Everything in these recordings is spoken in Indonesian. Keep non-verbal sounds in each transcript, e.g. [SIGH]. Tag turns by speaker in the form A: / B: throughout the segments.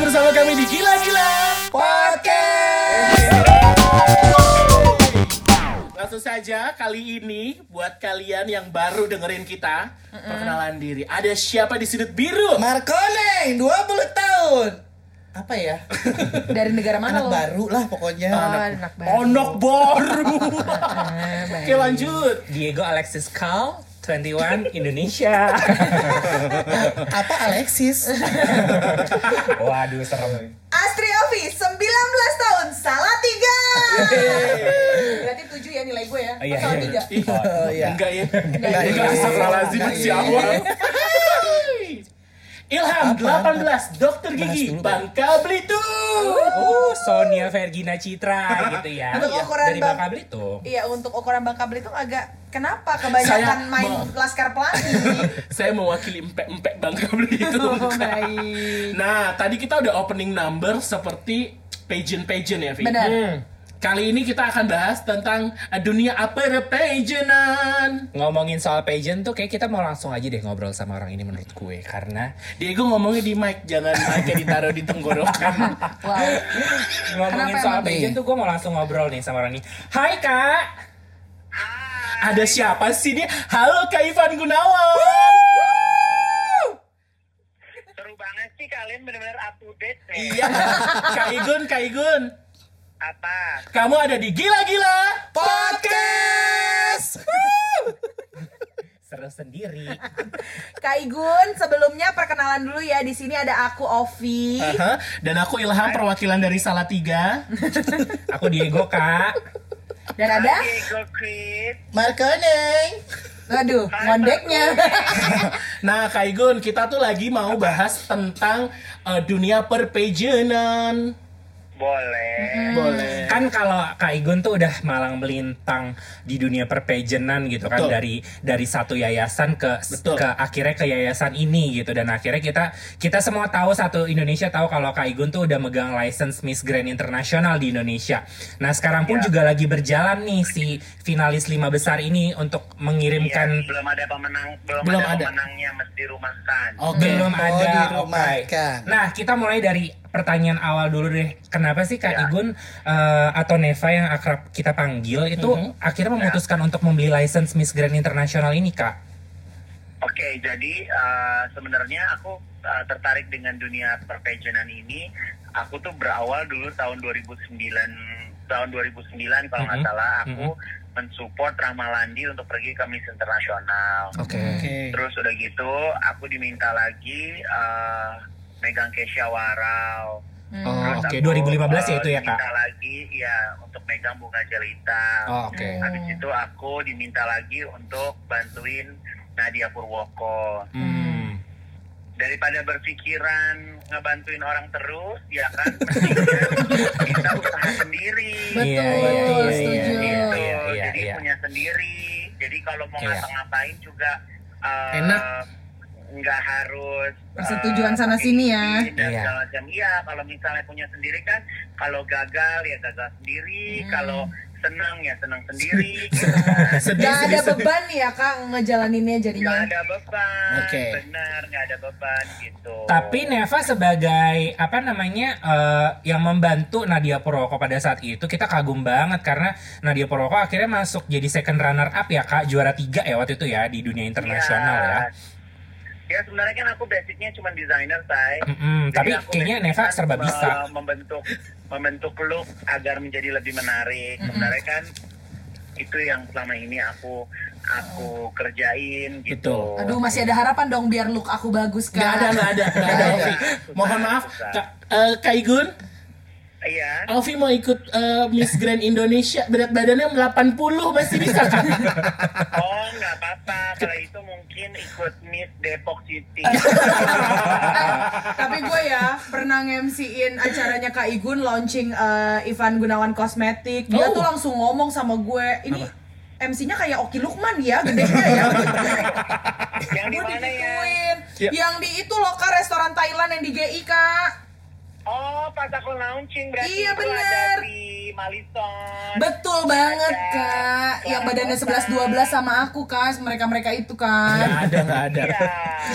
A: bersama kami di Gila Gila Podcast. Langsung saja kali ini buat kalian yang baru dengerin kita perkenalan diri. Ada siapa di sudut biru?
B: Markoneng 20 tahun. Apa ya?
C: Dari negara mana
B: Anak
C: lo?
B: baru lah pokoknya.
C: Oh, anak baru.
A: Onok baru.
C: Ah, baik.
A: Oke lanjut.
D: Diego Alexis Cal 21 Indonesia.
B: [LAUGHS]
D: [LAUGHS]
B: Apa Alexis?
D: Waduh serem.
E: Astri Ovi, 19 tahun, salah tiga.
A: Iya.
E: Berarti 7 ya nilai gue ya.
D: Oh, iya,
E: Salah
D: iya.
E: tiga.
A: Ih,
B: iya.
A: Enggak ya.
B: Enggak,
A: Enggak
B: iya.
A: astagfirullahaladzim
B: Enggak,
A: si
B: iya.
A: awal. Ilham
B: Apa?
A: 18 Dokter Gigi
B: dulu,
A: Bangka Belitung.
D: Oh, Sonia Vergina Citra gitu ya.
E: Untuk
D: Iya,
E: ukuran
D: Dari
E: Bang-
D: Bangka Belitung.
E: Iya, untuk ukuran Bangka Belitung agak kenapa
A: Saya
E: kebanyakan main
A: mau-
E: laskar pelangi.
A: Saya mewakili empek-empek Bangka Belitung.
C: Oh, baik.
A: Nah, tadi kita udah opening number seperti pageant-pageant ya, Vi.
C: Benar.
A: Kali ini kita akan bahas tentang eh, dunia apa pageantan.
D: Ngomongin soal pageant tuh kayak kita mau langsung aja deh ngobrol sama orang ini menurut gue karena
A: Diego ngomongnya di mic, jangan mic ditaruh di
F: [LAUGHS]
A: tenggorokan.
C: Wow.
D: ngomongin
C: Kenapa
D: soal
C: emang, Be?
D: pageant tuh gue mau langsung ngobrol nih sama orang ini. Hai Kak.
A: Ada siapa sih nih? Halo Kak Ivan Gunawan.
F: Seru banget sih kalian benar-benar up to date ya. nih.
A: Iya, Kak Igun, Kak Igun.
F: Apa?
A: Kamu ada di gila-gila podcast.
D: Seru sendiri.
E: Kak Igun, sebelumnya perkenalan dulu ya. Di sini ada aku Ovi.
A: Aha, Dan aku Ilham perwakilan dari Salatiga.
D: Aku Diego Kak.
C: Dan ada?
F: Diego Chris.
B: Markoneng.
C: Aduh, ngondeknya.
A: Nah, Kak Igun, kita tuh lagi mau bahas tentang eh, dunia perpejenan.
F: Boleh.
A: Boleh.
D: kan kalau Kak Igun tuh udah malang melintang di dunia perpejenan gitu kan
A: Betul.
D: dari dari satu yayasan ke
A: Betul.
D: ke akhirnya ke yayasan ini gitu dan akhirnya kita kita semua tahu satu Indonesia tahu kalau Kak Igun tuh udah megang license Miss Grand International di Indonesia. Nah,
A: Iya.
D: sekarang pun juga lagi berjalan nih si finalis lima besar ini untuk
F: Iya,
D: mengirimkan
F: belum ada pemenang, belum,
A: Belum
F: ada,
A: ada.
F: pemenangnya mesti rumahkan.
A: Oke.
D: belum
B: Oh,
D: ada
B: dirumahkan.
D: oke. Nah, kita mulai dari pertanyaan awal dulu deh. Kenapa sih Kak
F: Ya.
D: Igun eh, atau Neva yang akrab kita panggil itu akhirnya memutuskan untuk membeli license Miss Grand International ini, Kak?
F: Oke, jadi eh, sebenarnya aku eh, tertarik dengan dunia perpejenan ini. Aku tuh berawal dulu tahun 2009, tahun 2009 kalau nggak
D: Mhm.
F: salah aku mensupport Ramalandi untuk pergi ke Miss Internasional.
D: Oke.
F: Terus udah gitu, aku diminta lagi eh, megang Kesha Warau.
C: Hmm.
D: Oh,
F: Terus
D: oke.
F: aku,
D: 2015 ya
F: eh,
D: itu ya, Kak?
F: Diminta lagi, ya untuk megang bunga jelita.
D: Oh, oke.
F: Habis itu aku diminta lagi untuk bantuin Nadia Purwoko.
D: Hmm.
F: Daripada berpikiran ngebantuin orang terus, ya kan, mendingan kita usaha sendiri.
C: Betul,
D: Iya, iya, iya, iya,
C: setuju.
D: iya,
F: Gitu.
D: iya, iya,
F: Jadi
D: iya.
F: punya sendiri. Jadi kalau mau
D: Iya.
F: ngapa-ngapain juga eh,
A: Enak.
F: nggak harus eh,
C: Persetujuan sana
F: pakai
C: sini ya.
F: izin dan
D: Iya.
F: segala macam. Iya, kalau misalnya punya sendiri kan kalau gagal ya gagal
C: Hmm.
F: sendiri, kalau senang ya senang sendiri.
D: [LAUGHS]
F: gitu kan.
D: Nah,
A: Sedih,
C: Gak ada
A: sedih, sedih.
C: beban ya Kak ngejalaninnya
D: Iya.
F: Nggak
C: jadinya.
F: ada beban,
A: Oke.
F: benar nggak ada beban gitu.
D: Tapi Neva sebagai apa namanya eh, yang membantu Nadia Purwoko pada saat itu kita kagum banget karena Nadia Purwoko akhirnya masuk jadi second runner up ya kak juara tiga ya waktu itu ya di dunia internasional ya.
F: ya. Ya sebenarnya kan aku basicnya cuma desainer, Tay.
D: Mm-mm,
F: Jadi
D: tapi
F: aku
D: kayaknya
F: basicnya
D: Neva serba
F: me-
D: bisa.
F: [LAUGHS] Membentuk membentuk look agar menjadi lebih menarik. Sebenarnya kan itu yang selama ini aku aku kerjain gitu.
A: Betul.
C: Aduh, masih ada harapan dong biar look aku bagus Kak.
A: Gak ada, gak ada, gak ada, Ovi. Mohon maaf, Kak, eh, Kak Igun,
F: Iya.
D: [LAUGHS]
A: Ovi mau ikut eh, Miss Grand Indonesia, berat badannya 80 masih bisa kan?
D: [LAUGHS]
F: Oh nggak apa-apa. Kalau itu mungkin ikut Miss Depok
D: [LAUGHS]
F: City.
E: Tapi gue ya pernah nge-MC-in acaranya Kak Igun launching eh, Ivan Gunawan Kosmetik. Dia
A: Oh.
E: tuh langsung ngomong sama gue, ini MC-nya kayak Oki Lukman ya, gedenya ya.
F: yang di
E: gue
F: mana ya?
E: digituin.
A: Ya.
E: Yang di itu loh Kak, restoran Thailand yang di GI Kak.
F: Oh, pas aku launching berarti
E: Iya,
F: itu
E: bener.
F: ada di Malison.
E: Betul banget
F: Ada
E: kak, yang badannya 11-12 sama aku kan, mereka-mereka itu
A: Nggak
E: kan.
A: ada, nggak ada.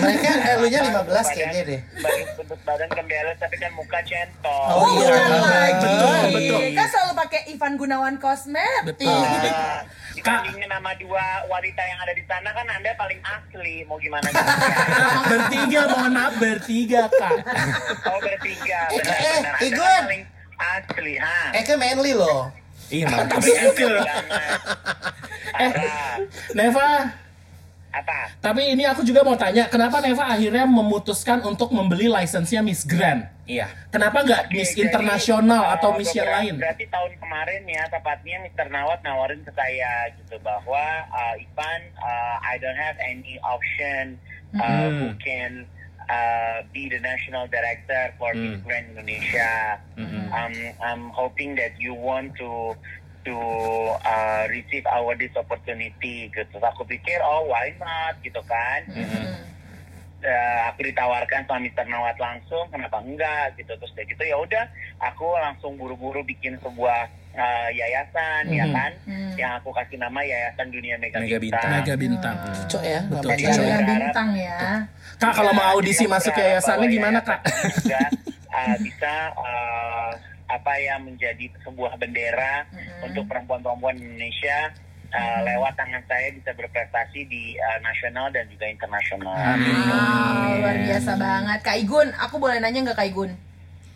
B: Mereka eh, elunya 15
F: Iya. Badan-
B: kayaknya deh.
F: badan- Bentuk badan kembelet tapi kan muka centong.
B: Oh, iya.
E: bukan lagi.
A: Betul, betul.
E: Kan selalu pakai Ivan Gunawan kosmetik.
B: Iya.
F: Nah, Dibandingin nama dua wanita yang ada di sana kan Anda paling asli. Mau gimana
E: [LAUGHS]
F: gitu ya?
A: bertiga mohon maaf bertiga kak
F: Oh, bertiga.
B: Eh,
F: Benar,
B: eh,
F: benar.
B: eh,
F: Anda
B: Gun.
F: paling asli, ha?
B: Eka Eh, manly loh.
D: Iya, mantap.
A: tapi itu
F: Jangan. Parah.
A: Eh, Neva
F: Apa?
A: tapi ini aku juga mau tanya kenapa Neva akhirnya memutuskan untuk membeli lisensinya Miss Grand
D: Iya.
A: kenapa nggak
F: Oke,
A: Miss
F: jadi,
A: Internasional
F: uh,
A: atau Miss yang
F: beberapa-
A: lain
F: Berarti tahun kemarin ya, tepatnya Mr. Nawat nawarin ke saya gitu bahwa uh, Ivan, uh, I don't have any option uh,
A: Mm-hmm.
F: who can uh, be the national director
A: Mm.
F: for Miss Grand Indonesia.
A: Mm-hmm.
F: Um, I'm hoping that you want to to uh, receive our this opportunity gitu. Aku pikir oh why not gitu kan. Eh, aku ditawarkan sama Mr. Nawat langsung, kenapa enggak gitu terus kayak gitu ya udah aku langsung buru-buru bikin sebuah eh, yayasan
A: Mm-hmm.
F: ya kan yang aku kasih nama Yayasan Dunia Mega,
D: Mega Bintang. Mm.
A: Mega Bintang
B: Cocok ya,
A: Betul,
B: namanya.
A: cocok.
E: Mega
F: berharap-
E: bintang ya.
A: kak Nah, kalau
F: Ya,
A: mau audisi
F: jadi aku
A: masuk
F: berharap
A: yayasannya
F: bahwa
A: gimana kak
F: yayasan juga, eh, bisa eh, apa ya menjadi sebuah bendera
A: Mm-hmm.
F: untuk perempuan-perempuan Indonesia eh, lewat tangan saya bisa berprestasi di eh, nasional dan juga internasional.
E: Wow, Ah,
D: Iya.
E: luar biasa banget. Kak Igun, aku boleh nanya nggak Kak Igun?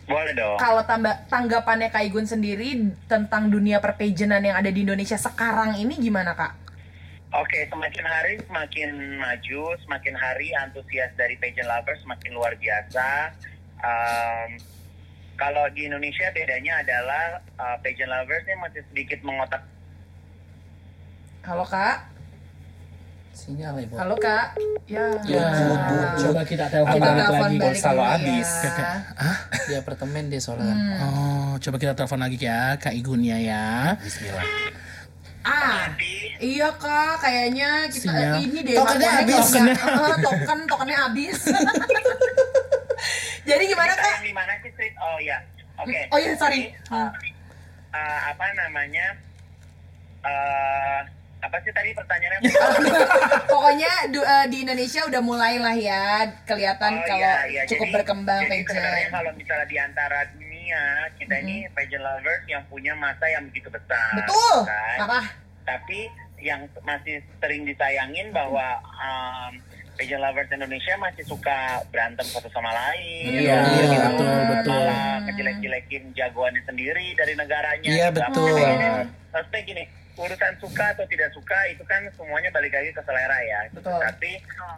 F: Boleh dong.
E: Kalau tambah tanggapannya Kak Igun sendiri tentang dunia perpejenan yang ada di Indonesia sekarang ini gimana Kak?
F: Oke, semakin hari semakin maju, semakin hari antusias dari pageant lovers semakin luar biasa. Um, kalau di Indonesia bedanya adalah uh, pageant lovers ini masih sedikit mengotak.
E: Halo Kak,
B: Sinyal ibu.
E: halo Kak. Ya.
B: Ya, bu, bu.
A: Ah, coba kita telepon
E: Kita
A: balik
E: telepon
A: lagi
E: balik
D: pulsa lo
E: lagi
D: habis.
E: ya.
B: Di apartemen dia soalnya.
A: oh coba kita telepon lagi ya kak Igunia ya
D: Bismillah.
E: Ah, iya Kak, kayaknya kita
A: Sinyal.
E: ini deh
B: Tokennya
E: Mas,
B: habis.
E: tokennya. Eh, token tokennya habis. [LAUGHS] Jadi gimana Kak?
F: Di mana sih street? Oh ya, oke.
E: Oh iya, sorry.
F: Jadi, uh, uh, apa namanya? Uh, apa sih tadi pertanyaannya?
E: [LAUGHS] Pokoknya du- eh, di Indonesia udah mulailah ya kelihatan
F: Oh,
E: kalau
F: iya, iya.
E: cukup
F: Jadi-
E: berkembang
F: jadi sebenarnya
E: pageant.
F: kalau misalnya di antara dunia kita ini pageant lovers yang punya masa yang begitu besar
E: Betul.
F: kan?
E: Parah.
F: tapi yang masih sering disayangin bahwa um, pageant lovers Indonesia masih suka berantem satu sama lain
A: Iya,
F: gitu.
A: betul, betul.
F: malah ngejelek-jelekin jagoannya sendiri dari negaranya
B: Iya,
F: gitu.
B: betul.
F: Akhirnya, maksudnya gini urusan suka atau tidak suka itu kan semuanya balik lagi ke selera ya Itu
E: Betul.
F: tapi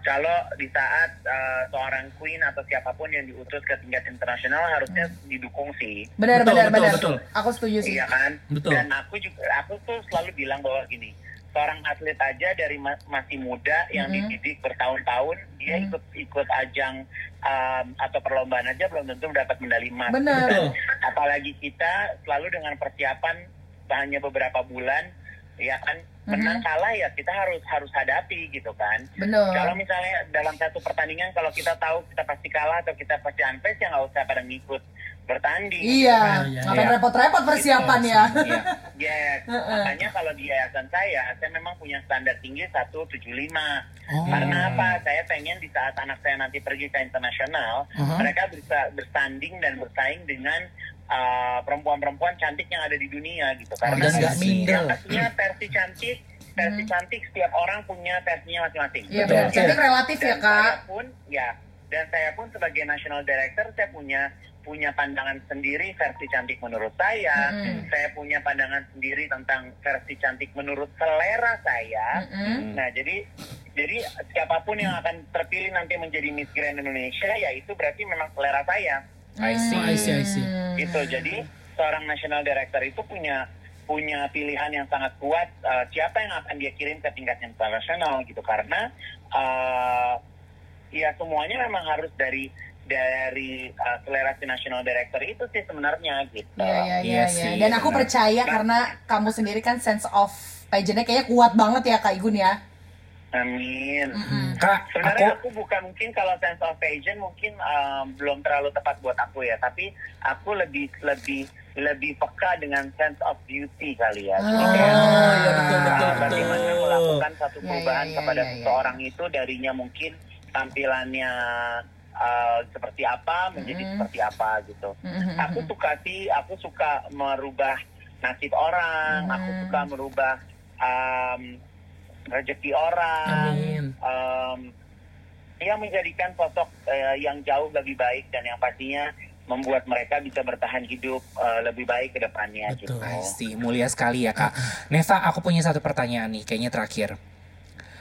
F: kalau di saat uh, seorang queen atau siapapun yang diutus ke tingkat internasional harusnya didukung sih
E: Benar
A: Betul,
E: benar
A: betul,
E: benar.
A: betul.
E: Aku setuju sih.
F: Iya kan?
A: Betul.
F: Dan aku juga aku tuh selalu bilang bahwa gini, seorang atlet aja dari ma- masih muda yang
E: Mm-hmm.
F: dididik bertahun-tahun dia ikut ikut ajang um, atau perlombaan aja belum tentu mendapat medali emas.
E: Benar.
A: Betul.
F: Apalagi kita selalu dengan persiapan hanya beberapa bulan ya kan menang kalah ya kita harus harus hadapi gitu kan.
E: Benar.
F: Kalau misalnya dalam satu pertandingan kalau kita tahu kita pasti kalah atau kita pasti unfit ya nggak usah pada ngikut bertanding.
E: Iya,
A: iya,
E: ngapain
D: iya.
E: repot-repot persiapan ya.
D: Iya.
F: Yes, makanya kalau di yayasan saya, saya memang punya standar tinggi 175.
A: Mm.
F: Karena
B: Hmm.
F: apa? Saya pengen di saat anak saya nanti pergi ke internasional,
B: Hmm.
F: mereka bisa bertanding dan bersaing dengan uh, perempuan-perempuan cantik yang ada di dunia gitu. Karena
B: dan nggak minder.
F: yang pastinya versi cantik, versi cantik setiap orang punya versinya masing-masing.
E: Hmm. Iya
A: Betul.
E: benar. Cantik relatif ya,
F: Dan
E: Kak.
F: saya pun ya, dan saya pun sebagai national director saya punya punya pandangan sendiri versi cantik menurut saya.
E: Mm-mm.
F: Saya punya pandangan sendiri tentang versi cantik menurut selera saya.
E: Mm-mm.
F: Nah, jadi jadi siapapun yang akan terpilih nanti menjadi Miss Grand Indonesia ya itu berarti memang selera saya.
D: I see.
A: Oh, I see, I see.
E: Hmm.
F: Gitu. Jadi seorang national director itu punya punya pilihan yang sangat kuat eh, siapa yang akan dia kirim ke tingkat internasional gitu karena eh, ya semuanya memang harus dari dari eh, selera si national director itu sih sebenarnya gitu.
E: Iya, iya, iya,
D: Iya
E: iya.
D: sih,
E: Dan aku
D: benar.
F: Nah.
E: percaya karena kamu sendiri kan sense of pageantnya kayaknya kuat banget ya Kak Igun ya.
F: Amin.
A: Mm.
D: Kak,
F: Sebenarnya aku, bukan mungkin kalau sense of fashion mungkin um, belum terlalu tepat buat aku ya, tapi aku lebih lebih lebih peka dengan sense of beauty kali
C: Ah,
F: ya. Jadi kayak,
B: Oh, iya, betul,
F: uh,
D: Ah,
B: betul,
F: bagaimana
B: betul.
F: melakukan satu
C: Ya,
F: perubahan
C: ya, ya,
F: kepada
C: ya, ya.
F: seseorang itu darinya mungkin tampilannya uh, seperti apa menjadi
C: Mm-hmm.
F: seperti apa gitu.
A: Hmm.
F: Aku suka sih, aku suka merubah nasib orang, aku suka merubah um, rezeki orang
B: Amin.
F: um, yang menjadikan sosok eh, yang jauh lebih baik dan yang pastinya membuat mereka bisa bertahan hidup eh, lebih baik ke depannya gitu.
B: Betul.
D: I see. mulia sekali ya kak. Neva, aku punya satu pertanyaan nih, kayaknya terakhir.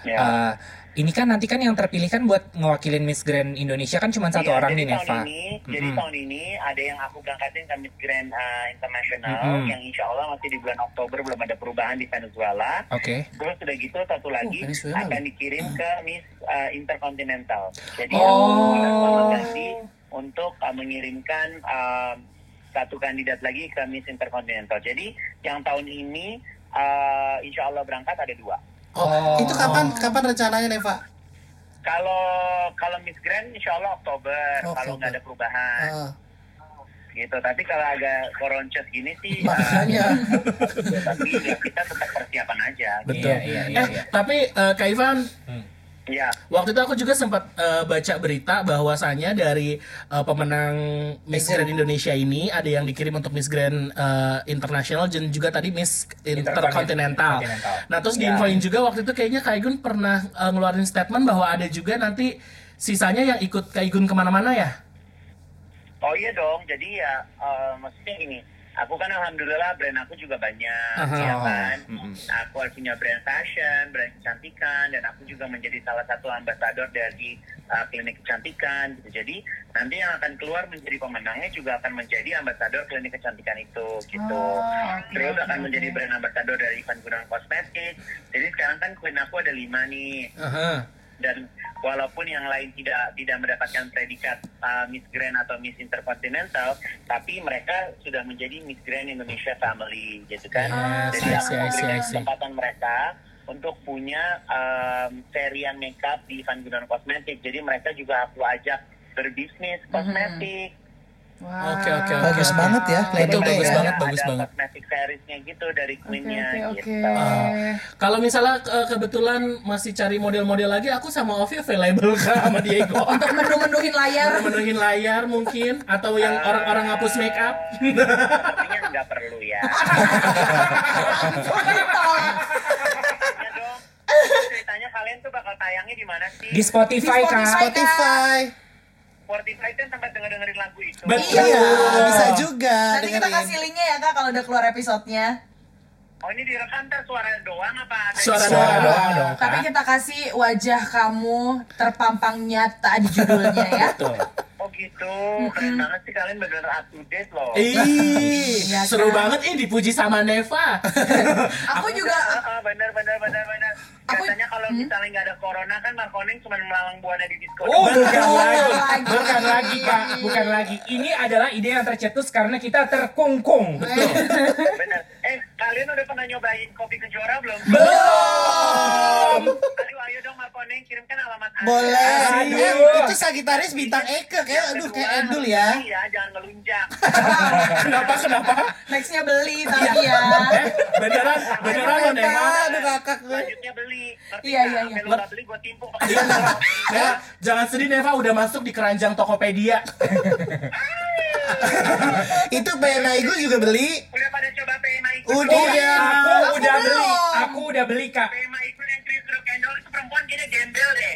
F: Ya.
D: Eh, ini kan nanti kan yang terpilih kan buat ngewakilin Miss Grand Indonesia kan cuma satu
F: Iya,
D: orang
F: jadi
D: nih Neva.
F: Tahun ini, Jadi
D: Mm-mm.
F: tahun ini ada yang aku berangkatin ke Miss Grand eh, International
D: Mm-mm.
F: yang insya Allah masih di bulan Oktober belum ada perubahan di Venezuela.
D: Oke.
F: Terus sudah gitu satu lagi
B: Oh, Venezuela. Ah.
F: akan dikirim ke Miss eh, Intercontinental. Jadi
D: Oh.
F: oleh Muhammad Gandhi untuk eh, mengirimkan eh, satu kandidat lagi ke Miss Intercontinental. Jadi yang tahun ini eh, insya Allah berangkat ada dua.
B: Oh, itu kapan kapan rencananya Neva?
F: Kalau kalau Miss Grand insya Allah Oktober
B: Oktober.
F: kalau nggak ada perubahan
B: Ah,
F: gitu. Tapi kalau agak koronces
B: Iya.
F: gini sih, eh,
B: makanya
F: tapi ya kita tetap persiapan aja.
A: Betul.
D: Iya, iya, iya,
A: eh,
D: iya.
A: tapi eh, Kak Ivan,
F: Ya.
A: Waktu itu aku juga sempat eh, baca berita bahwasannya dari eh, pemenang Miss Grand Indonesia ini ada yang dikirim untuk Miss Grand eh, International dan juga tadi Miss Intercontinental.
D: Intercontinental.
A: Nah, terus diinfoin juga waktu itu kayaknya Kak Igun pernah eh, ngeluarin statement bahwa ada juga nanti sisanya yang ikut Kak Igun kemana-mana ya?
F: Oh iya dong, jadi ya eh, maksudnya gini, aku kan alhamdulillah brand aku juga banyak,
A: Aha.
F: ya kan.
D: Mm-mm.
F: Aku punya brand fashion, brand kecantikan, dan aku juga menjadi salah satu ambasador dari eh, klinik kecantikan. Gitu. Jadi nanti yang akan keluar menjadi pemenangnya juga akan menjadi ambasador klinik kecantikan itu, gitu. Terus akan menjadi brand ambasador dari Ivan Gunawan Kosmetik. Jadi sekarang kan queen aku ada lima nih
A: Aha.
F: dan walaupun yang lain tidak tidak mendapatkan predikat uh, Miss Grand atau Miss Intercontinental, tapi mereka sudah menjadi Miss Grand Indonesia Family, gitu kan?
A: Yes,
F: Jadi
A: I
F: aku
A: see, I see, I
F: memberikan
A: see.
F: kesempatan mereka untuk punya um, serian makeup di Van Gunawan Kosmetik. Jadi mereka juga aku ajak berbisnis
A: Mhm.
F: kosmetik.
C: Wah.
A: Oke, oke, oke.
B: [LAUGHS] bagus banget ya
A: Nah, Itu
B: planningnya
A: bagus
B: ya.
A: banget,
F: ada
A: bagus banget.
F: Kosmetik seriesnya gitu dari Queennya
C: Oke, oke,
F: gitu.
A: Ah.
C: oke.
D: Ah.
A: Kalau misalnya eh, kebetulan masih cari model-model lagi, aku sama Ovi available Kak sama Diego.
C: Untuk mendung-mendungin layar.
D: Nah,
A: Menuhin layar mungkin atau yang orang-orang ngapus make up.
F: Sepertinya nggak perlu ya. Tanya Iya dong, Ceritanya kalian tuh bakal tayangnya di mana sih?
D: Di Spotify,
C: Di
D: kak.
C: Spotify.
B: Spotify.
F: Spotify kan tempat denger dengerin lagu itu.
A: Betul.
B: Iya, bisa juga
E: Nanti kita
B: dengerin.
E: kasih linknya ya kak kalau udah keluar episodenya.
F: Oh ini direkam ntar suara doang apa? ada-
A: Suara
D: Suara
A: doang.
D: doang dong,
C: Tapi
D: kak.
C: kita kasih wajah kamu terpampang nyata di judulnya ya.
D: Betul.
F: Oh gitu. Keren banget sih kalian bener up to date loh.
A: Iya. Ih,
C: Iya,
A: seru
C: kan?
A: banget ih dipuji sama Neva.
C: Aku juga
F: Ah, ah, bener bener bener bener.
C: Aku-
F: Katanya kalau misalnya nggak ada corona kan Markoneng cuma melalang buana di disco.
D: Oh, bukan
F: doang.
D: lagi,
C: lagi.
D: bukan lagi kak, bukan lagi. Ini adalah ide yang tercetus karena kita terkungkung.
F: bener. Eh kalian udah pernah nyobain kopi kejora belum?
D: Belum.
F: Aduh ayo dong Markoneng kirimkan alamat Anda.
B: Boleh.
D: Aduh.
B: Eh, Itu Sagitarius bintang Eke kayak aduh kayak
F: Kedua,
B: Endul ya.
F: Iya jangan ngelunjak.
A: kenapa kenapa?
E: Nextnya beli tapi ya.
A: Eh, beneran beneran loh Neva.
B: Aduh kakak gue.
F: Selanjutnya beli. Ngerti
C: Iya, iya, iya.
F: nggak? Sampai lu nggak beli gue timpuk.
A: Neva, Ya, jangan sedih Neva udah masuk di keranjang Tokopedia.
B: Itu PNI gue juga beli.
F: Udah pada coba PMA ikut.
B: Udah.
D: Aku
B: Aku
D: udah beli,
B: belum.
D: aku udah beli kak.
F: PMA ikut yang kriuk-kriuk kendor itu perempuan kayaknya gembel deh.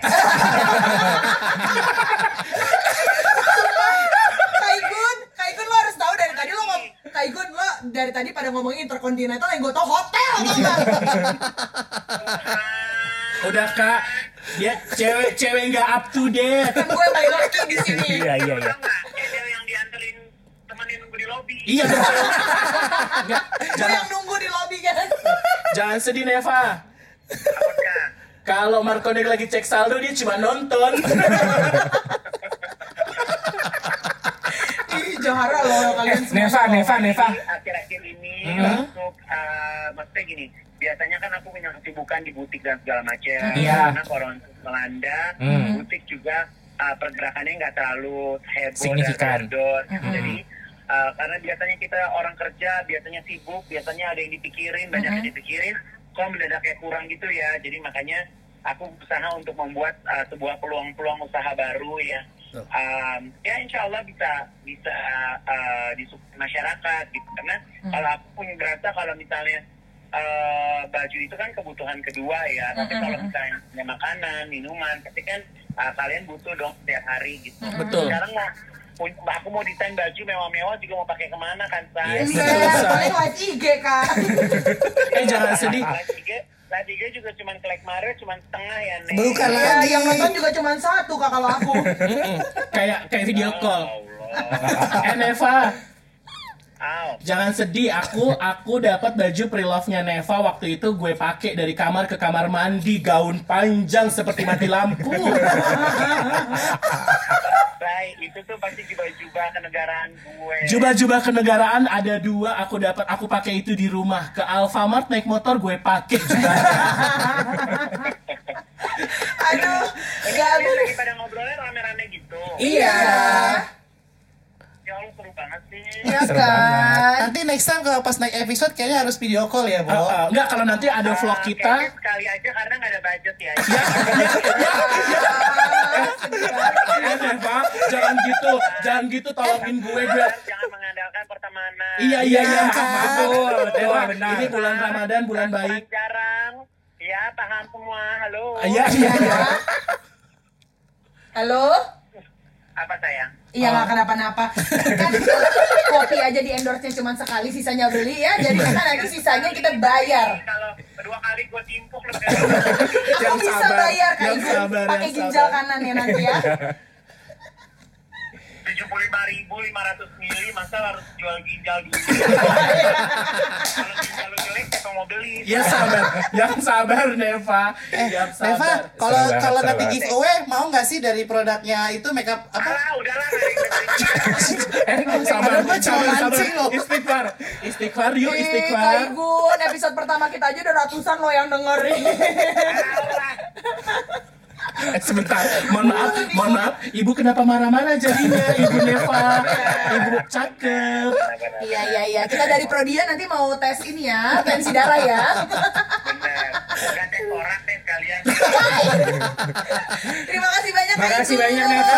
E: Kaigun, Kaigun lo harus tahu dari tadi lo ngom Kaigun lo dari tadi pada ngomongin interkontinental yang gue tau hotel tau nggak?
A: Udah Kak, dia cewek-cewek nggak up to date.
E: Kan gue balik lagi di sini.
D: Iya iya iya.
F: Tau nggak? Kayak dia yang dianterin temenin nunggu di lobi.
A: Iya betul. Nggak,
E: Gue
A: jangan,
E: yang nunggu di lobby kan.
D: [LAUGHS]
A: jangan sedih Neva.
F: Apa, Kak?
A: Kalau Markonek lagi cek saldo dia cuma nonton.
E: Ih Johara lo kalian semua.
D: Neva, Neva, Neva.
F: Akhir-akhir ini untuk eh, maksudnya gini, di biasanya kan aku punya kesibukan di butik dan segala macam.
D: Iya.
F: Karena corona melanda,
D: Hmm.
F: butik juga uh, pergerakannya nggak terlalu heboh
D: Signifikan.
F: dan kendor. Jadi uh, karena biasanya kita orang kerja biasanya sibuk, biasanya ada yang dipikirin, banyak yang dipikirin. Kok mendadak kayak kurang gitu ya. Jadi makanya aku berusaha untuk membuat uh, sebuah peluang-peluang usaha baru ya. Um, ya insya Allah bisa bisa uh, disupport masyarakat gitu karena kalau aku punya berasa kalau misalnya eh, baju itu kan kebutuhan kedua ya tapi kalau misalnya punya makanan minuman pasti kan eh, kalian butuh dong setiap hari gitu
A: Betul.
F: sekarang lah pun- aku mau desain baju mewah-mewah juga mau pakai kemana kan saya
A: Yes.
E: Enggak,
A: Susah.
E: paling live IG kak.
A: Iya, Eh jangan sedih.
F: Lagi juga cuma kelek Mario cuma setengah ya Nek.
B: Bukan
E: Iya,
B: lagi.
E: yang nonton juga cuma satu kak kalau aku.
A: Mm-mm. Kayak kayak video call.
F: Allah.
A: Eh Neva,
F: Au.
A: jangan sedih. Aku aku dapat baju pre-love-nya Neva waktu itu gue pakai dari kamar ke kamar mandi gaun panjang seperti mati lampu.
F: Baik, itu tuh pasti jubah-jubah kenegaraan gue.
A: Jubah-jubah kenegaraan ada dua aku dapat aku pakai itu di rumah ke Alfamart naik motor gue pakai juga.
E: Aduh,
F: Ini
A: Iya.
E: gak
F: kalian lagi pada ngobrolnya rame-rame gitu.
E: Iya.
F: Ya Allah seru banget sih.
C: Iya
D: Seru
C: kan?
B: Nanti next time kalau pas naik episode kayaknya harus video call ya,
A: Oh,
B: Bo.
A: oh. Enggak kalau nanti ada
F: Ah,
A: vlog
F: kayaknya
A: kita Iya,
F: sekali aja karena nggak ada budget ya.
A: Eh, Neva, jangan gitu, jangan gitu tolongin gue gue.
F: [LAUGHS] Jangan mengandalkan pertemanan.
A: Iya iya iya, maaf, maaf.
D: Betul, betul,
A: Neva,
D: benar.
A: Ini bulan Ramadan, bulan baik.
F: Orang jarang. Ya, paham semua. Halo.
A: Iya iya. iya.
C: Halo?
F: Apa sayang?
A: Ah.
E: Iya nggak kenapa-napa.
C: Kan kopi aja di endorse-nya cuma sekali, sisanya beli ya. Jadi kita
E: kan
C: nanti sisanya kita
F: Ini
C: bayar.
F: Kalau kedua kali gue timpuk lebih.
A: [LAUGHS] Yang
E: Kamu bisa
A: sabar,
E: bayar kak
A: yang
E: Igun
A: sabar,
E: pakai
A: yang
E: ginjal
A: sabar.
E: kanan ya nanti ya.
F: tujuh puluh lima ribu lima ratus mili masa harus jual ginjal
A: [LAUGHS]
F: dulu.
A: Iya.
F: Kalau ginjal lu jelek, siapa mau beli?
A: Ya sabar, yang sabar Neva.
B: Eh,
A: Yang
B: Neva,
A: sabar.
B: kalau
D: Sabar,
B: kalau nanti
D: sabar.
B: giveaway mau nggak sih dari produknya itu makeup apa?
F: Alah, udahlah. nggak ada yang dengerin.
A: Eh, sabar,
B: Padahal gua cuma
A: sabar, sabar.
B: mancing loh.
A: Istighfar, istighfar [LAUGHS] yuk,
E: Ih, Kak
A: istighfar.
E: Igun, episode pertama kita aja udah ratusan loh yang dengerin.
F: Alah.
A: Eh, sebentar, mohon maaf, mohon maaf. Ibu kenapa marah-marah jadinya, Ibu Neva? Ibu cakep.
F: Benar,
E: Iya iya iya. Kita dari Prodia nanti mau tes ini ya, tensi darah
D: [LAUGHS]
E: ya.
F: benar. Bukan tes orang, tes
A: [LAUGHS]
F: kalian.
E: Terima kasih banyak Kak ya.
D: Makasih
E: Igun.
D: banyak, Neva.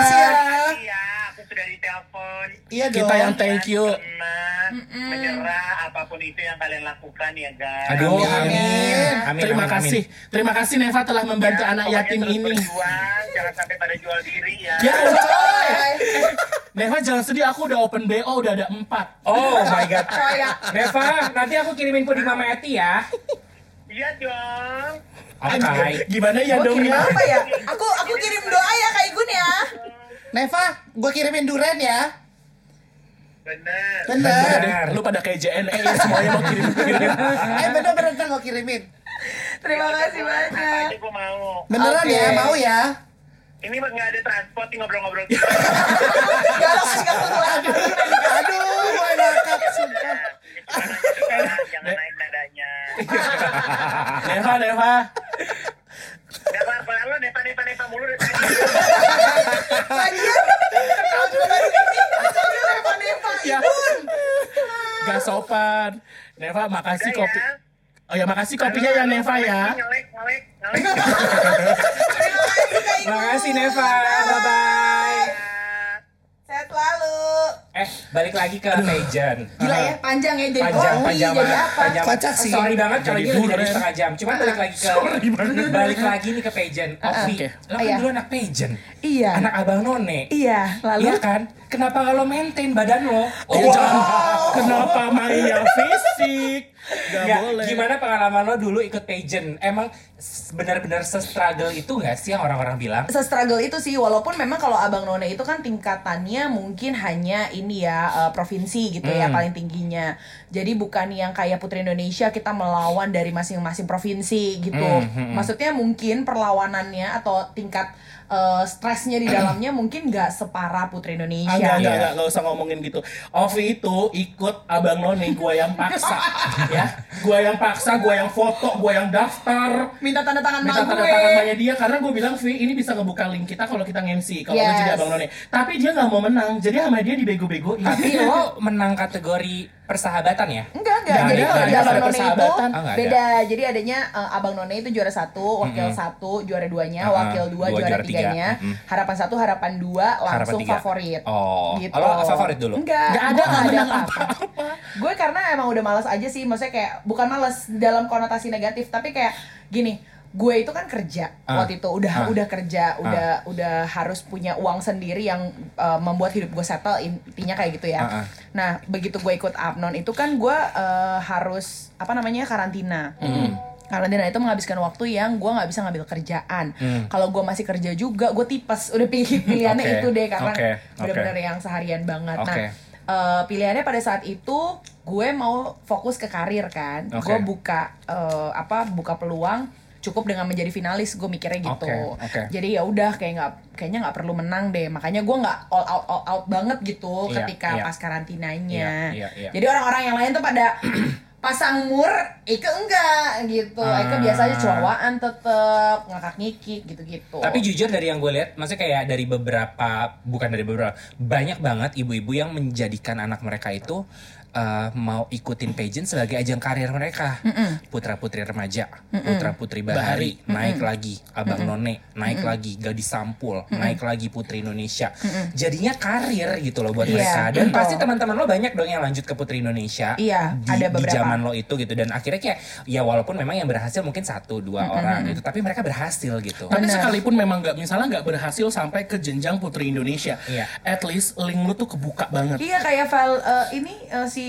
F: Iya, aku sudah ditelepon.
B: Iya dong.
A: Kita yang thank you.
F: Tenang, menyerah, apapun itu yang kalian lakukan ya guys.
D: Aduh,
A: kan
B: Amin.
D: amin. Amin,
A: Terima
D: amin,
A: kasih, terima kasih Neva telah membantu
F: Ya,
A: anak
F: pokoknya
A: yatim
F: terus
A: ini.
F: berjuang, jangan sampai pada jual diri ya.
A: Ya, coy.
E: Coy,
A: Neva jangan sedih, aku udah open BO udah ada empat.
D: Oh my god.
E: coy ya.
D: Neva, nanti aku kirimin info di Mama Eti ya.
F: Iya dong.
D: Oke.
A: Gimana ya
E: Gua
A: dong
E: kirim
A: ya?
E: apa ya? Aku aku kirim doa ya Kak Igun ya.
B: Neva, gue kirimin duren ya.
F: Bener.
B: Bener.
D: Bener.
A: Lu pada kayak JNE ya semuanya mau kirim-kirim.
B: eh bener bener ntar gue kirimin.
E: Terima kasih
F: Apa
E: banyak.
F: aja gue mau.
B: Beneran
E: Oke.
B: ya, mau ya.
F: Ini mah nggak ada transport, nih ngobrol-ngobrol gitu.
A: Ya.
E: Galak sih nggak keluar.
B: Aduh, gue ngakak sumpah.
F: Cuman aja doang, jangan naik nadanya.
A: Neva, Neva.
F: Gak apa-apa, lo nepa-nepa-nepa mulu.
A: [LAUGHS]
E: Lagian, kalau juga baru ini, sambil nepa-nepa.
A: Ya. Gak sopan. Neva, makasih
F: Udah
A: kopi.
F: ya.
A: Oh ya, makasih kopinya ya Neva ya.
F: Ngelek, ngelek,
E: Terima
F: ngelek.
E: kasih Kak Igun.
D: Terima kasih Neva. Bye bye.
E: Sehat selalu.
D: Eh, balik lagi ke Legend.
E: Gila ya, panjang ya jadi
D: panjang
E: kopi,
D: panjang
E: jadi
D: banget
E: apa?
D: panjang
B: Kocak sih.
D: sorry banget kalau
A: Jadi
D: ini udah
A: buren.
D: jadi setengah jam cuman balik lagi ke balik lagi nih ke pageant Ovi
A: Oke.
D: lo kan
E: Iya.
D: dulu anak pageant
E: Iya.
D: anak abang none
E: Iya, lalu
D: Iya kan? Kenapa nggak lo maintain badan lo? Iya,
A: Ya, jangan. Kenapa
D: [LAUGHS]
A: mainnya fisik? Gak
D: Nggak,
A: iya, boleh.
D: Gimana pengalaman lo dulu ikut pageant? Emang s- benar-benar se-struggle itu nggak sih yang orang-orang
E: [LAUGHS]
D: bilang?
E: se-struggle itu sih walaupun memang kalau Abang None itu kan tingkatannya mungkin hanya ini ya eh, provinsi gitu
A: Hmm.
E: ya paling tingginya. Jadi bukan yang kayak Putri Indonesia kita
A: Hmm,
E: melawan dari masing-masing provinsi gitu. Maksudnya mungkin perlawanannya atau tingkat eh, stresnya di dalamnya mungkin nggak separah Putri Indonesia.
A: Enggak, enggak,
D: Iya.
A: enggak, enggak usah ngomongin gitu. Ovi itu ikut abang none, gua yang paksa, ya. Gua yang paksa, gua yang foto, gua yang daftar.
E: Minta tanda tangan
A: Minta
E: mak
A: tanda
E: gue.
A: tangan banyak dia karena gue bilang Vi ini bisa ngebuka link kita kalau kita nge-MC kalau lu
E: Yes.
A: jadi abang none. Tapi dia nggak mau menang, jadi sama dia dibego-begoin.
D: Tapi lo menang kategori persahabatan ya?
E: Enggak, enggak.
A: Nggak
E: Jadi
A: ada, nggak
E: kalau di
A: ada
E: Abang None itu
A: persahabatan.
D: Ah, nggak ada.
E: beda. Jadi adanya eh, Abang None itu juara satu, wakil satu, juara duanya,
D: Ah, ah.
E: wakil dua,
D: Dua,
E: juara
D: juara tiga.
E: tiganya,
D: Mm-mm.
E: harapan satu, harapan dua, langsung
D: tiga.
E: favorit.
D: Oh.
E: gitu.
D: Lo favorit dulu?
E: Enggak,
A: Nggak ada,
E: gua nggak
A: nggak
E: ada
A: menang
E: apa-apa. gue karena emang udah malas aja sih, maksudnya kayak bukan malas dalam konotasi negatif, tapi kayak gini, gue itu kan kerja
D: Ah.
E: waktu itu udah
D: Ah.
E: udah kerja, udah udah harus punya uang sendiri yang uh, membuat hidup gue settle intinya kayak gitu ya.
D: Ah, ah.
E: Nah, begitu gue ikut Abnon itu kan gue uh, harus apa namanya karantina.
D: Hmm.
E: Karantina itu menghabiskan waktu yang gue nggak bisa ngambil kerjaan. Kalau gue masih kerja juga, gue tipes. Udah pilih [LAUGHS] pilihannya
D: Hmm. Oke,
E: itu deh karena
D: oke,
E: bener-bener
D: oke.
E: yang seharian banget.
D: Oke.
E: Nah, eh, pilihannya pada saat itu gue mau fokus ke karir kan.
D: Oke.
E: Gue buka eh, apa buka peluang cukup dengan menjadi finalis gue mikirnya gitu.
D: Oke, oke.
E: Jadi ya udah kayak nggak kayaknya nggak perlu menang deh. Makanya gue nggak all out all out banget gitu
D: Iya,
E: ketika
D: iya.
E: pas karantinanya.
D: Iya, iya, iya.
E: Jadi orang-orang yang lain tuh
D: [CLEARS THROAT]
E: pada pasang mur, Ike enggak gitu. Ike
D: Ah.
E: biasanya cowaan tetep ngakak ngikik gitu-gitu.
D: Tapi jujur dari yang gue lihat, maksudnya kayak dari beberapa, bukan dari beberapa, banyak banget ibu-ibu yang menjadikan anak mereka itu eh, mau ikutin pageant sebagai ajang karir mereka. Putra putri remaja, putra putri bahari, naik lagi, abang none, naik lagi, gadis sampul, naik lagi putri Indonesia. Jadinya karir gitu loh buat
E: Iya,
D: mereka. Dan
E: betul.
D: pasti teman-teman lo banyak dong yang lanjut ke putri Indonesia.
E: Iya,
D: di,
E: ada
D: di
E: beberapa.
D: zaman lo itu gitu. Dan akhirnya kayak ya walaupun memang yang berhasil mungkin satu dua orang gitu, tapi mereka berhasil gitu.
A: Tapi
E: Benar.
A: sekalipun memang nggak misalnya nggak berhasil sampai ke jenjang Putri Indonesia,
D: Iya.
A: at least link lu tuh kebuka banget.
E: Iya kayak Val eh, ini eh, si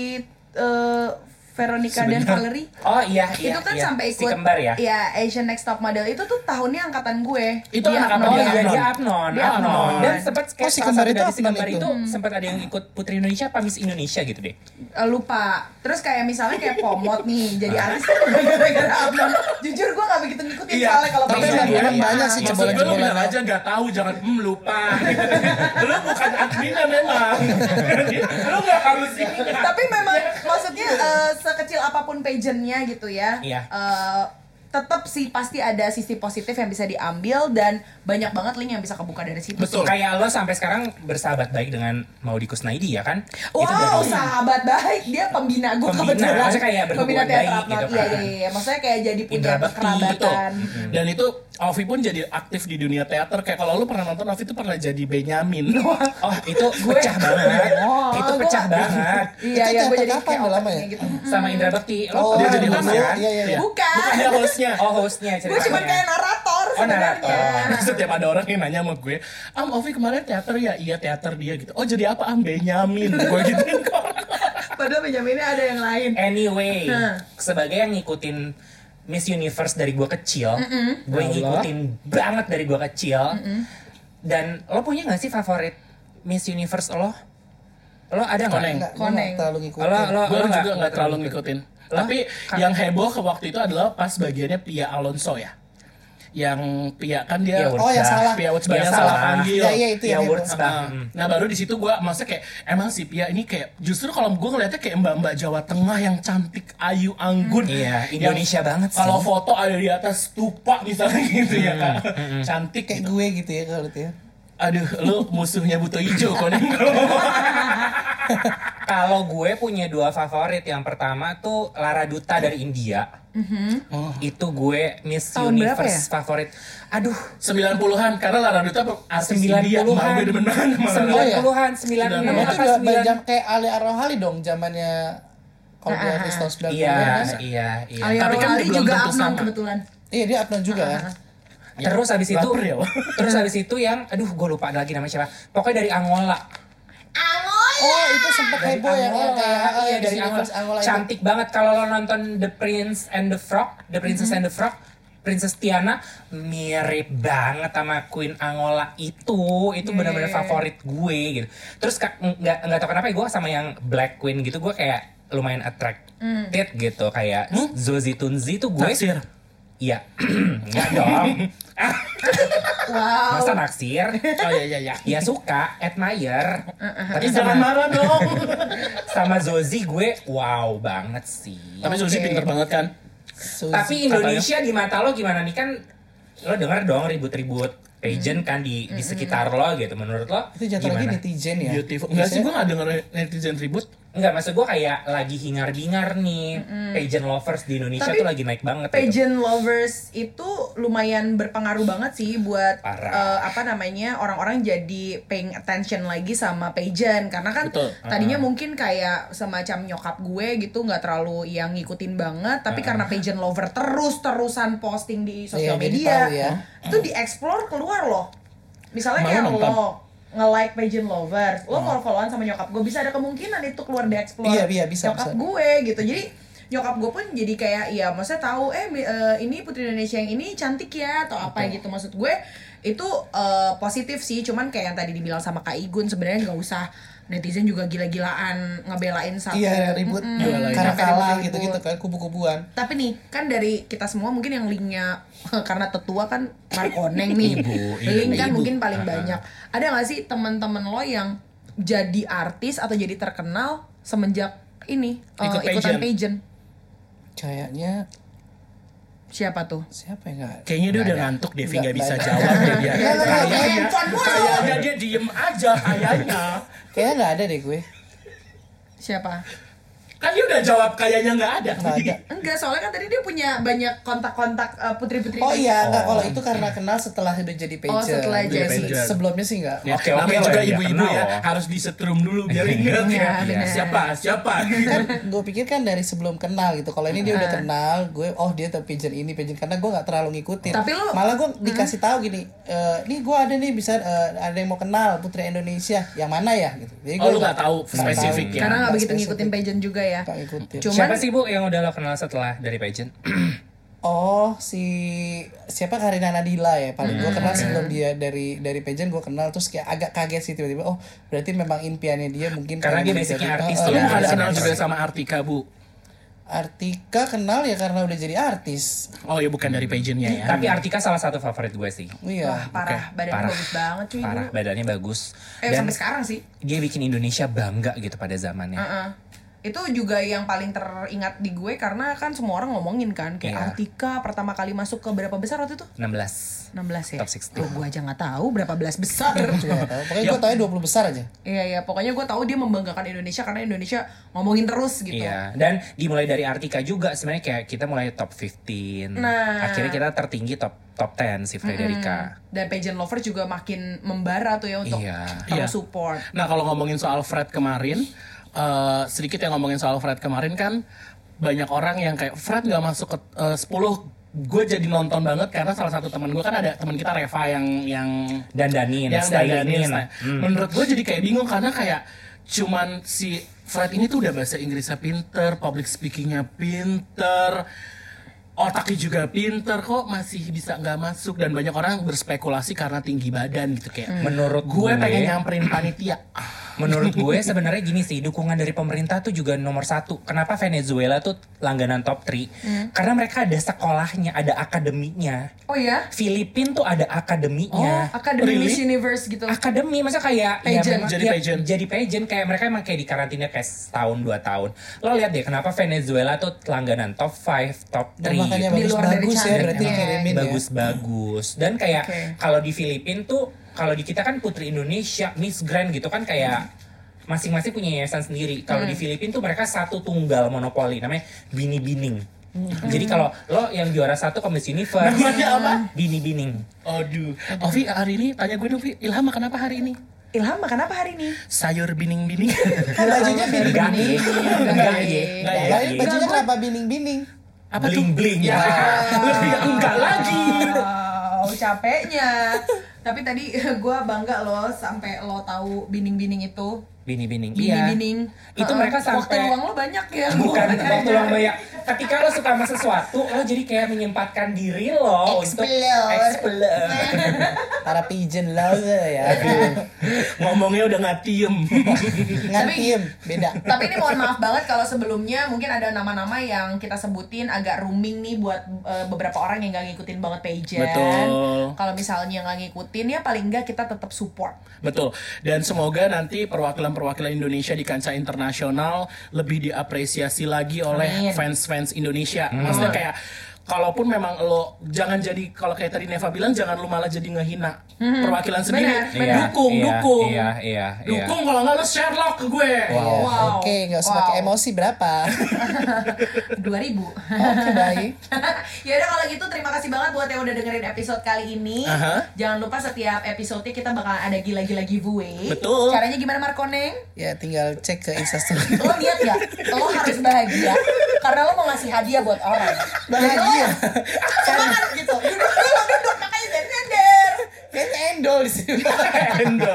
E: eh, Veronica dan
D: Sebentar.
E: Valerie
D: Oh iya, iya,
E: itu kan
D: iya.
E: sampai
D: si
E: ikut
D: kembar ya.
E: Iya, Asian Next Top Model itu tuh tahunnya angkatan gue.
A: Itu anak
E: Abnon.
D: Oh iya,
A: Abnon.
D: dia Abnon,
A: Dia
D: Abnon.
A: Abnon.
D: Dan sempat
B: Oh,
D: kayak
B: si
D: salah
B: kembar
D: satu
B: itu
D: dari si
B: Abnon
D: kembar
B: itu.
D: itu, sempat ada yang ikut Putri Indonesia apa Miss Indonesia gitu deh.
E: Eh, lupa. Terus kayak misalnya kayak pomot nih, jadi artis tuh gara-gara Abnon. Jujur gue gak begitu ngikutin soalnya kalau
B: tapi
E: Abnon.
B: emang
A: Iya,
B: orang
A: iya.
B: banyak
A: Maksud gue
B: sih
A: lu
B: cebolan-cebolan.
A: bilang aja nggak tahu, jangan hmm, lupa. [LAUGHS] lu bukan adminnya memang. lu nggak harus ini.
E: tapi memang
D: Iya.
E: maksudnya eh, sekecil apapun pageantnya gitu ya
D: Iya.
E: eh, tetap sih pasti ada sisi positif yang bisa diambil dan banyak banget link yang bisa kebuka dari situ
A: Betul.
D: Kayak lo sampai sekarang bersahabat baik dengan Maudi Kusnaidi ya kan? Itu
E: Wow,
D: dari-
E: sahabat baik dia pembina gue
D: Pembina,
E: kebetulan.
D: maksudnya kayak berhubungan
E: pembina teater
D: baik
E: Abnon.
D: gitu
E: Iya,
D: kan.
E: iya, iya. Maksudnya kayak jadi punya
A: Indra Bekti betul.
E: kekerabatan.
A: Dan itu Ovi pun jadi aktif di dunia teater. Kayak kalau lu pernah nonton Ovi itu pernah jadi
E: [LAUGHS]
A: Benyamin.
D: Oh, itu pecah banget.
E: Oh,
D: itu
E: gua-
D: pecah banget.
B: Itu
E: Iya, iya, gue
B: teater
E: jadi
B: kapan?
E: kayak
B: Udah lama
E: otaknya
B: ya?
E: gitu.
D: Sama Indra Bekti, lo
B: Oh,
D: pernah
A: dia jadi
D: jadi
A: host ya?
D: kan?
B: Iya, iya, iya.
E: Bukan.
A: Bukan dia hostnya. [LAUGHS]
D: Oh, hostnya
E: Gue
D: ceritanya.
E: cuma
A: Iya.
E: kayak narator
D: Oh, narator.
E: sebenarnya.
A: Setiap ada orang yang nanya sama gue, Am Ovi kemarin teater ya? Iya teater dia gitu. Oh jadi apa Am Benyamin? [LAUGHS] gue gituin kok.
E: Padahal Benjaminnya ada yang lain.
A: Eh,
D: Anyway,
E: Nah.
D: sebagai yang ngikutin Miss Universe dari gua kecil, gue ngikutin banget dari gua kecil. Dan lo punya gak sih favorit Miss Universe lo? Lo ada nggak?
A: Koneng.
B: Enggak,
E: Koneng.
B: enggak terlalu ngikutin.
D: Lo, lo,
A: gue
D: lo
A: juga
D: nggak-
A: nggak terlalu ngikutin.
D: Lah,
A: Tapi yang heboh ke waktu itu adalah pas bagiannya Pia Alonso ya. Yang Pia kan dia
D: Iya,
B: Oh, yang
D: Wurza.
B: salah.
A: Pia Wutsman
D: Iya,
A: yang salah
D: salah.
A: panggil.
B: Iya, iya, itu
D: Ya
B: yang heboh.
D: words bang.
A: Nah, Nah baru di situ gue maksudnya kayak emang si Pia ini kayak justru kalau gue ngeliatnya kayak mbak-mbak Jawa Tengah yang cantik, ayu, anggun.
D: Iya,
A: Yang
D: Indonesia banget sih.
A: Kalau foto ada di atas tupak misalnya [LAUGHS] gitu ya kak, cantik
B: kayak
A: gitu.
B: gue gitu ya kalau itu ya.
A: Aduh, lu musuhnya butuh hijau kok nih.
D: Kalau gue punya dua favorit, yang pertama tuh Lara Duta dari India. Itu gue Miss
E: Mm-hmm. Tahun berapa ya?
D: Universe favorit. Aduh,
A: 90-an karena Lara Duta artis
D: 90-an.
A: India, mau gue demenan sama Lara Duta.
B: Oh, iya.
D: 90-an, 96
B: Nah, itu
D: apa
B: udah
D: 9.
B: jam kayak Ale Arrohali dong zamannya kalau
E: Nah, ah,
B: dia artis tahun 90
D: Iya,
B: kan.
D: iya, iya.
E: Alia
A: Tapi kan
E: Rohali
A: belum
E: juga
A: tentu
E: Abnon
A: sama.
E: kebetulan.
B: Iya, dia Abnon juga
E: Ah,
B: kan.
D: Terus habis itu
A: Laper ya, Wak?
D: Terus habis itu yang aduh gue lupa lagi namanya siapa. Pokoknya dari Angola.
B: Oh, itu sempat
D: Dari
B: heboh yang yang kayak ah,
D: iya
B: yang
D: dari
B: Miss
D: Angola.
B: Universe Angola itu.
D: Cantik banget kalau lo nonton The Prince and the Frog, The Princess
B: Mm-hmm.
D: and the Frog. Princess Tiana mirip banget sama Queen Angola itu,
B: Iya,
D: itu benar-benar favorit gue gitu. Terus ka- nggak nggak tahu kenapa ya, gue sama yang Black Queen gitu gue kayak lumayan attracted
B: Mm.
D: gitu kayak Zozi Tunzi tuh gue [CLEARS THROAT]
A: Naksir.
D: Iya, nggak dong. Masa naksir?
A: Oh iya iya iya.
D: Ya suka, admire. Tapi
B: Uh-uh. Ih, jangan
D: sama
B: marah dong.
D: [LAUGHS] sama Zozi gue wow banget sih.
A: Tapi Susi pinter banget kan?
D: Tapi
B: ya?
D: Indonesia di mata lo gimana nih kan lo denger dong ribut-ribut
B: Hmm.
D: pageant kan di di sekitar lo gitu menurut lo
B: itu jatuh lagi netizen ya.
A: Beautiful. Enggak sih gue gak denger netizen ribut.
D: Enggak, maksud gue kayak lagi hingar-bingar
B: Hmm,
D: nih pageant lovers di Indonesia
E: Tapi
D: tuh lagi naik banget gitu.
E: Pageant lovers itu lumayan berpengaruh banget sih buat
D: Parah.
E: eh, apa namanya orang-orang jadi paying attention lagi sama pageant karena kan
A: Betul.
E: tadinya mungkin kayak semacam nyokap gue gitu nggak terlalu yang ngikutin banget tapi karena pageant lover terus-terusan posting di
B: Iya, jadi
E: sosial media
B: tahu ya.
E: itu di-explore keluar loh. Misalnya
A: Mau
E: kayak
A: nonton?
E: lo nge-like pageant lovers, lo mau followan sama nyokap gue bisa ada kemungkinan itu keluar di explore
B: Iya, iya, bisa,
E: nyokap
B: bisa.
E: gue gitu. Jadi nyokap gue pun jadi kayak ya maksudnya tahu eh mi- eh, ini putri Indonesia yang ini cantik ya atau apa gitu maksud gue itu eh, positif sih cuman kayak yang tadi dibilang sama Kak Igun sebenarnya nggak usah netizen juga gila-gilaan ngebelain satu
B: Iya ribut
A: Jualan.
B: karena
E: Sampai
B: kalah
E: ribut-ribut.
B: gitu-gitu kan kubu-kubuan.
E: tapi nih kan dari kita semua mungkin yang linknya [LAUGHS] karena tetua kan Markoneng nih
D: Ibu, ibu,
E: link kan
D: ibu.
E: mungkin paling
D: Ah, ah.
E: banyak ada nggak sih teman-teman lo yang jadi artis atau jadi terkenal semenjak ini eh,
A: Ikut
E: ikutan
A: pageant.
E: pageant
B: Kayaknya
E: siapa tuh
B: siapa ya enggak?
A: Kayaknya dia udah
B: ada. Iya,
A: ngantuk Devi
B: Nggak,
A: nggak bisa
B: nggak
A: jawab deh
B: [LAUGHS]
A: dia. Iya, Kayaknya kayaknya dia diem aja kayaknya.
B: Kayaknya nggak ada deh gue.
E: siapa
A: Kan dia udah jawab kayaknya nggak ada. [LAUGHS]
B: Nggak ada.
E: enggak soalnya kan tadi dia punya banyak kontak-kontak eh, putri-putri
B: Oh iya, enggak
D: Oh.
B: kalau itu karena kenal setelah menjadi pager.
E: Oh, setelah
A: jadi pager.
B: Sebelumnya sih enggak.
A: Ya,
D: Oke, oke
A: namanya
D: lah,
A: juga
D: dia
A: ibu-ibu
D: kenal
A: ya
D: loh.
A: harus disetrum dulu biar ingat
E: Iya,
A: ya.
E: benar.
A: Siapa siapa.
B: Kan gue pikir kan dari sebelum kenal gitu. Kalau ini dia udah kenal, gue oh dia tuh pager ini pager karena gue nggak terlalu ngikutin.
E: Tapi lu-
B: malah gue dikasih tahu gini, eh nih gue ada nih bisa eh, ada yang mau kenal Putri Indonesia, yang mana ya gitu. Jadi
A: Oh,
B: gue
A: lu nggak tahu spesifik ya.
E: karena nggak
B: Nggak
E: begitu ngikutin
B: spesifik.
E: pageant juga ya
B: Nggak ngikutin.
E: cuman
D: Iya, Siapa sih bu yang udah lo kenal setelah dari
B: [CLEARS THROAT]
D: pageant?
B: Oh si siapa Karina Nadila ya paling gue kenal sebelum dia dari dari pageant gue kenal terus kayak agak kaget sih tiba-tiba oh berarti memang impiannya dia mungkin
D: Karena dia
B: pengen
D: basicnya
B: jadi-
D: artis
B: Eh,
A: Lu
B: eh,
D: ya.
A: ada
D: Iya,
A: kenal
D: iya,
A: juga
D: iya.
A: sama Artika bu.
B: Artika kenal ya karena udah jadi artis
A: Oh ya bukan dari pageantnya ya.
D: Iya, Tapi Artika salah satu favorit gue sih.
E: wah
B: iya
E: parah badannya
D: parah.
E: bagus banget cuy
D: Parah,
E: dulu
D: badannya bagus.
E: eh
D: Dan
E: sampai sekarang sih
D: dia bikin Indonesia bangga gitu pada zamannya.
E: Heeh. Itu juga yang paling teringat di gue karena kan semua orang ngomongin kan kayak
D: Iya.
E: Artika pertama kali masuk ke berapa besar waktu itu?
D: 16.
E: 16 ya.
D: Top Iya. 16.
E: Oh, gue aja nggak tahu berapa belas
D: [LAUGHS]
E: besar.
B: Juga nggak tahu. pokoknya gue tau dua puluh besar aja
E: Iya iya, pokoknya gue tahu dia membanggakan Indonesia karena Indonesia ngomongin terus gitu.
D: Iya, dan dimulai dari Artika juga sebenarnya kayak kita mulai top 15.
E: Nah.
D: Akhirnya kita tertinggi top top 10 si Frederica.
E: Dan pageant lover juga makin membara tuh ya untuk
D: Iya.
A: Iya.
E: terus support.
A: Nah kalau ngomongin soal Fred kemarin, eh, sedikit yang ngomongin soal Fred kemarin kan banyak orang yang kayak Fred nggak masuk ke eh, 10 gue jadi nonton banget karena salah satu teman gue kan ada teman kita Reva yang yang
D: Dan Danin, Mm.
A: yang dandanin,
D: stylingin.
A: style. Menurut gue jadi kayak bingung karena kayak cuman si Fred ini tuh udah bahasa Inggrisnya pinter, public speakingnya pinter, otaknya juga pinter kok masih bisa nggak masuk dan banyak orang berspekulasi karena tinggi badan gitu kayak.
D: Hmm. Menurut
A: Gue
D: gue
A: pengen nyamperin panitia.
D: Menurut gue sebenarnya gini sih dukungan dari pemerintah tuh juga nomor satu. Kenapa Venezuela tuh langganan top 3?
E: Mm.
D: Karena mereka ada sekolahnya, ada akademinya.
E: Oh ya?
D: Filipin tuh ada
E: Oh,
D: akademinya.
E: Academy
A: Really?
E: Miss Universe gitu.
D: Akademi masa kayak ya
E: Pageant.
D: memang-
A: Jadi
D: ya,
A: pageant.
D: jadi pageant kayak mereka emang kayak di karantina kayak setahun dua tahun. Lo lihat deh kenapa Venezuela tuh langganan top 5, top 3
B: dan makanya
E: Di
B: bagus
E: luar dari
B: bagus ya
E: cantik.
B: berarti
E: Iya.
B: dikirimin ya
D: bagus-bagus dan kayak
E: Oke.
D: kalau di Filipina tuh kalau di kita kan putri Indonesia Miss Grand gitu kan kayak masing-masing punya yayasan sendiri kalau di Filipina tuh mereka satu tunggal monopoli namanya Bini Bining jadi kalau lo yang juara satu ke Miss
E: Nah,
D: Universe
A: Namanya apa?
D: Bini Bining
A: Iya. Aduh, Ovi hari ini tanya gue dong, Vi, Ilham makan apa hari ini?
E: Ilham makan apa hari ini?
A: Sayur bining-bining. [LAUGHS]
B: kan bajunya bining
D: enggak ye enggak ye
A: Enggak ya?
B: Lah, ini bajunya kenapa bining bining
A: apa tuh?
D: bling bling
A: Ya, lebih enggak lagi.
E: Wow, [LAUGHS] capeknya. Tapi tadi gue bangga loh sampai lo tahu bining-bining itu.
D: Bini Bining.
E: Bini
D: Iya.
E: bining.
D: Itu
E: Heeh.
D: mereka
E: waktu
D: sampai-
E: luang lo banyak ya. [LAUGHS]
D: Bukan
E: Makanya.
D: waktu luang banyak. Ketika lo suka sama sesuatu, lo jadi kayak menyempatkan diri lo untuk
E: Explore.
D: explore.
B: Para pigeon lover [LAUGHS] ya.
A: Ngomongnya udah nggak diem. [LAUGHS]
B: Ngatiem, beda.
E: Tapi ini mohon maaf banget kalau sebelumnya mungkin ada nama-nama yang kita sebutin agak rooming nih buat eh, beberapa orang yang nggak ngikutin banget pageant.
A: Betul.
E: Kalau misalnya nggak ngikutin ya paling nggak kita tetap support.
A: Betul. Dan semoga nanti perwakilan-perwakilan Indonesia di kancah internasional lebih diapresiasi lagi oleh
E: Amin.
A: fans-fans Indonesia.
D: Hmm.
A: Maksudnya kayak kalaupun memang lo jangan jadi kalau kayak tadi Neva bilang jangan lo malah jadi ngehina perwakilan sendiri.
E: Hmm. Benar,
D: benar.
A: Dukung,
D: Iya,
A: dukung.
D: iya, iya, iya.
A: Dukung kalau nggak lo share lo ke gue.
B: Wow.
E: Wow.
B: Oke, nggak usah
E: Wow.
B: pakai emosi
E: [LAUGHS]
B: berapa?
E: 2000.
B: Oke, baik.
E: [LAUGHS] ya udah kalau gitu terima kasih banget buat yang udah dengerin episode kali ini.
A: Aha.
E: Jangan lupa setiap episode kita bakal ada gila-gila giveaway.
A: Betul.
E: Caranya gimana Markoneng?
B: Ya tinggal cek ke Instastory.
E: [LAUGHS] lo lihat ya lo harus bahagia karena lo mau ngasih hadiah buat orang
B: Bahagia. Kan.
E: semangat gitu duduk dulu duduk makanya nyender
B: Kayaknya endol di sini.
A: Endo.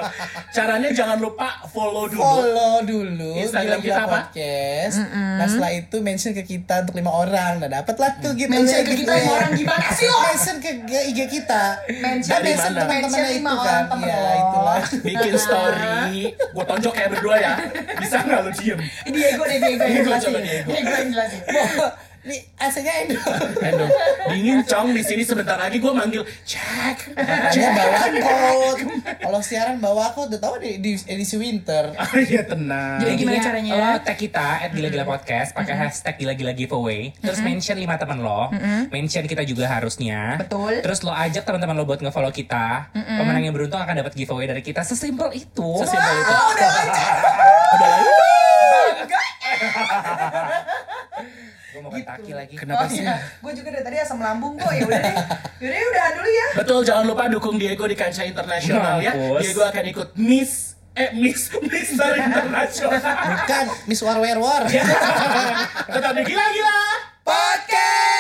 A: Caranya jangan lupa follow dulu.
B: [LAUGHS] Follow dulu
A: Instagram kita apa?
B: podcast. Nah setelah itu mention ke kita untuk lima orang. Nah dapat lah tuh gitu.
E: Mm. Mention ke kita lima orang, gimana sih oh? lo?
B: Mention ke G- IG kita.
E: Mention
B: Dan
A: dari
B: Iya,
A: mana?
B: mention teman-temannya
E: Mention
B: itu
E: lima
B: kan.
E: orang temen
B: Ya
E: lo.
B: [LAUGHS] itulah.
A: Bikin story, gue tonjok kayak berdua ya. Bisa nggak lo diem?
E: Diego deh Diego
B: Iya,
A: Diego,
E: yang jelasin
A: coba Diego.
E: Diego yang jelasin
B: Ini AC-nya endol.
A: Endo, dingin cong di sini sebentar lagi gue manggil cek.
B: Makanya bawa coat. Kalau siaran bawa coat, udah tau di, di edisi winter.
A: Iya tenang.
E: Jadi gimana
D: Intinya,
E: caranya?
D: Lo tag kita at gila-gila podcast pakai hashtag gila-gila giveaway, terus mention lima teman lo, mention kita juga harusnya.
E: Betul.
D: Terus lo ajak teman-teman lo buat nge-follow kita. Pemenang yang beruntung akan dapat giveaway dari kita. Sesimpel itu.
A: Sesimpel itu.
E: udah lancar
A: Udah lah.
D: Gue mau kentaki lagi.
A: Kenapa
E: oh
A: sih?
E: iya gue juga dari tadi asam lambung kok ya udah deh yaudah yaudah dulu ya
A: Betul, jangan lupa dukung Diego di kancah internasional ya.
D: Mampus.
A: Diego akan ikut Miss eh Miss Mister Internasional.
B: Bukan, Miss War War War.
A: Tetap di gila-gila.
B: Podcast!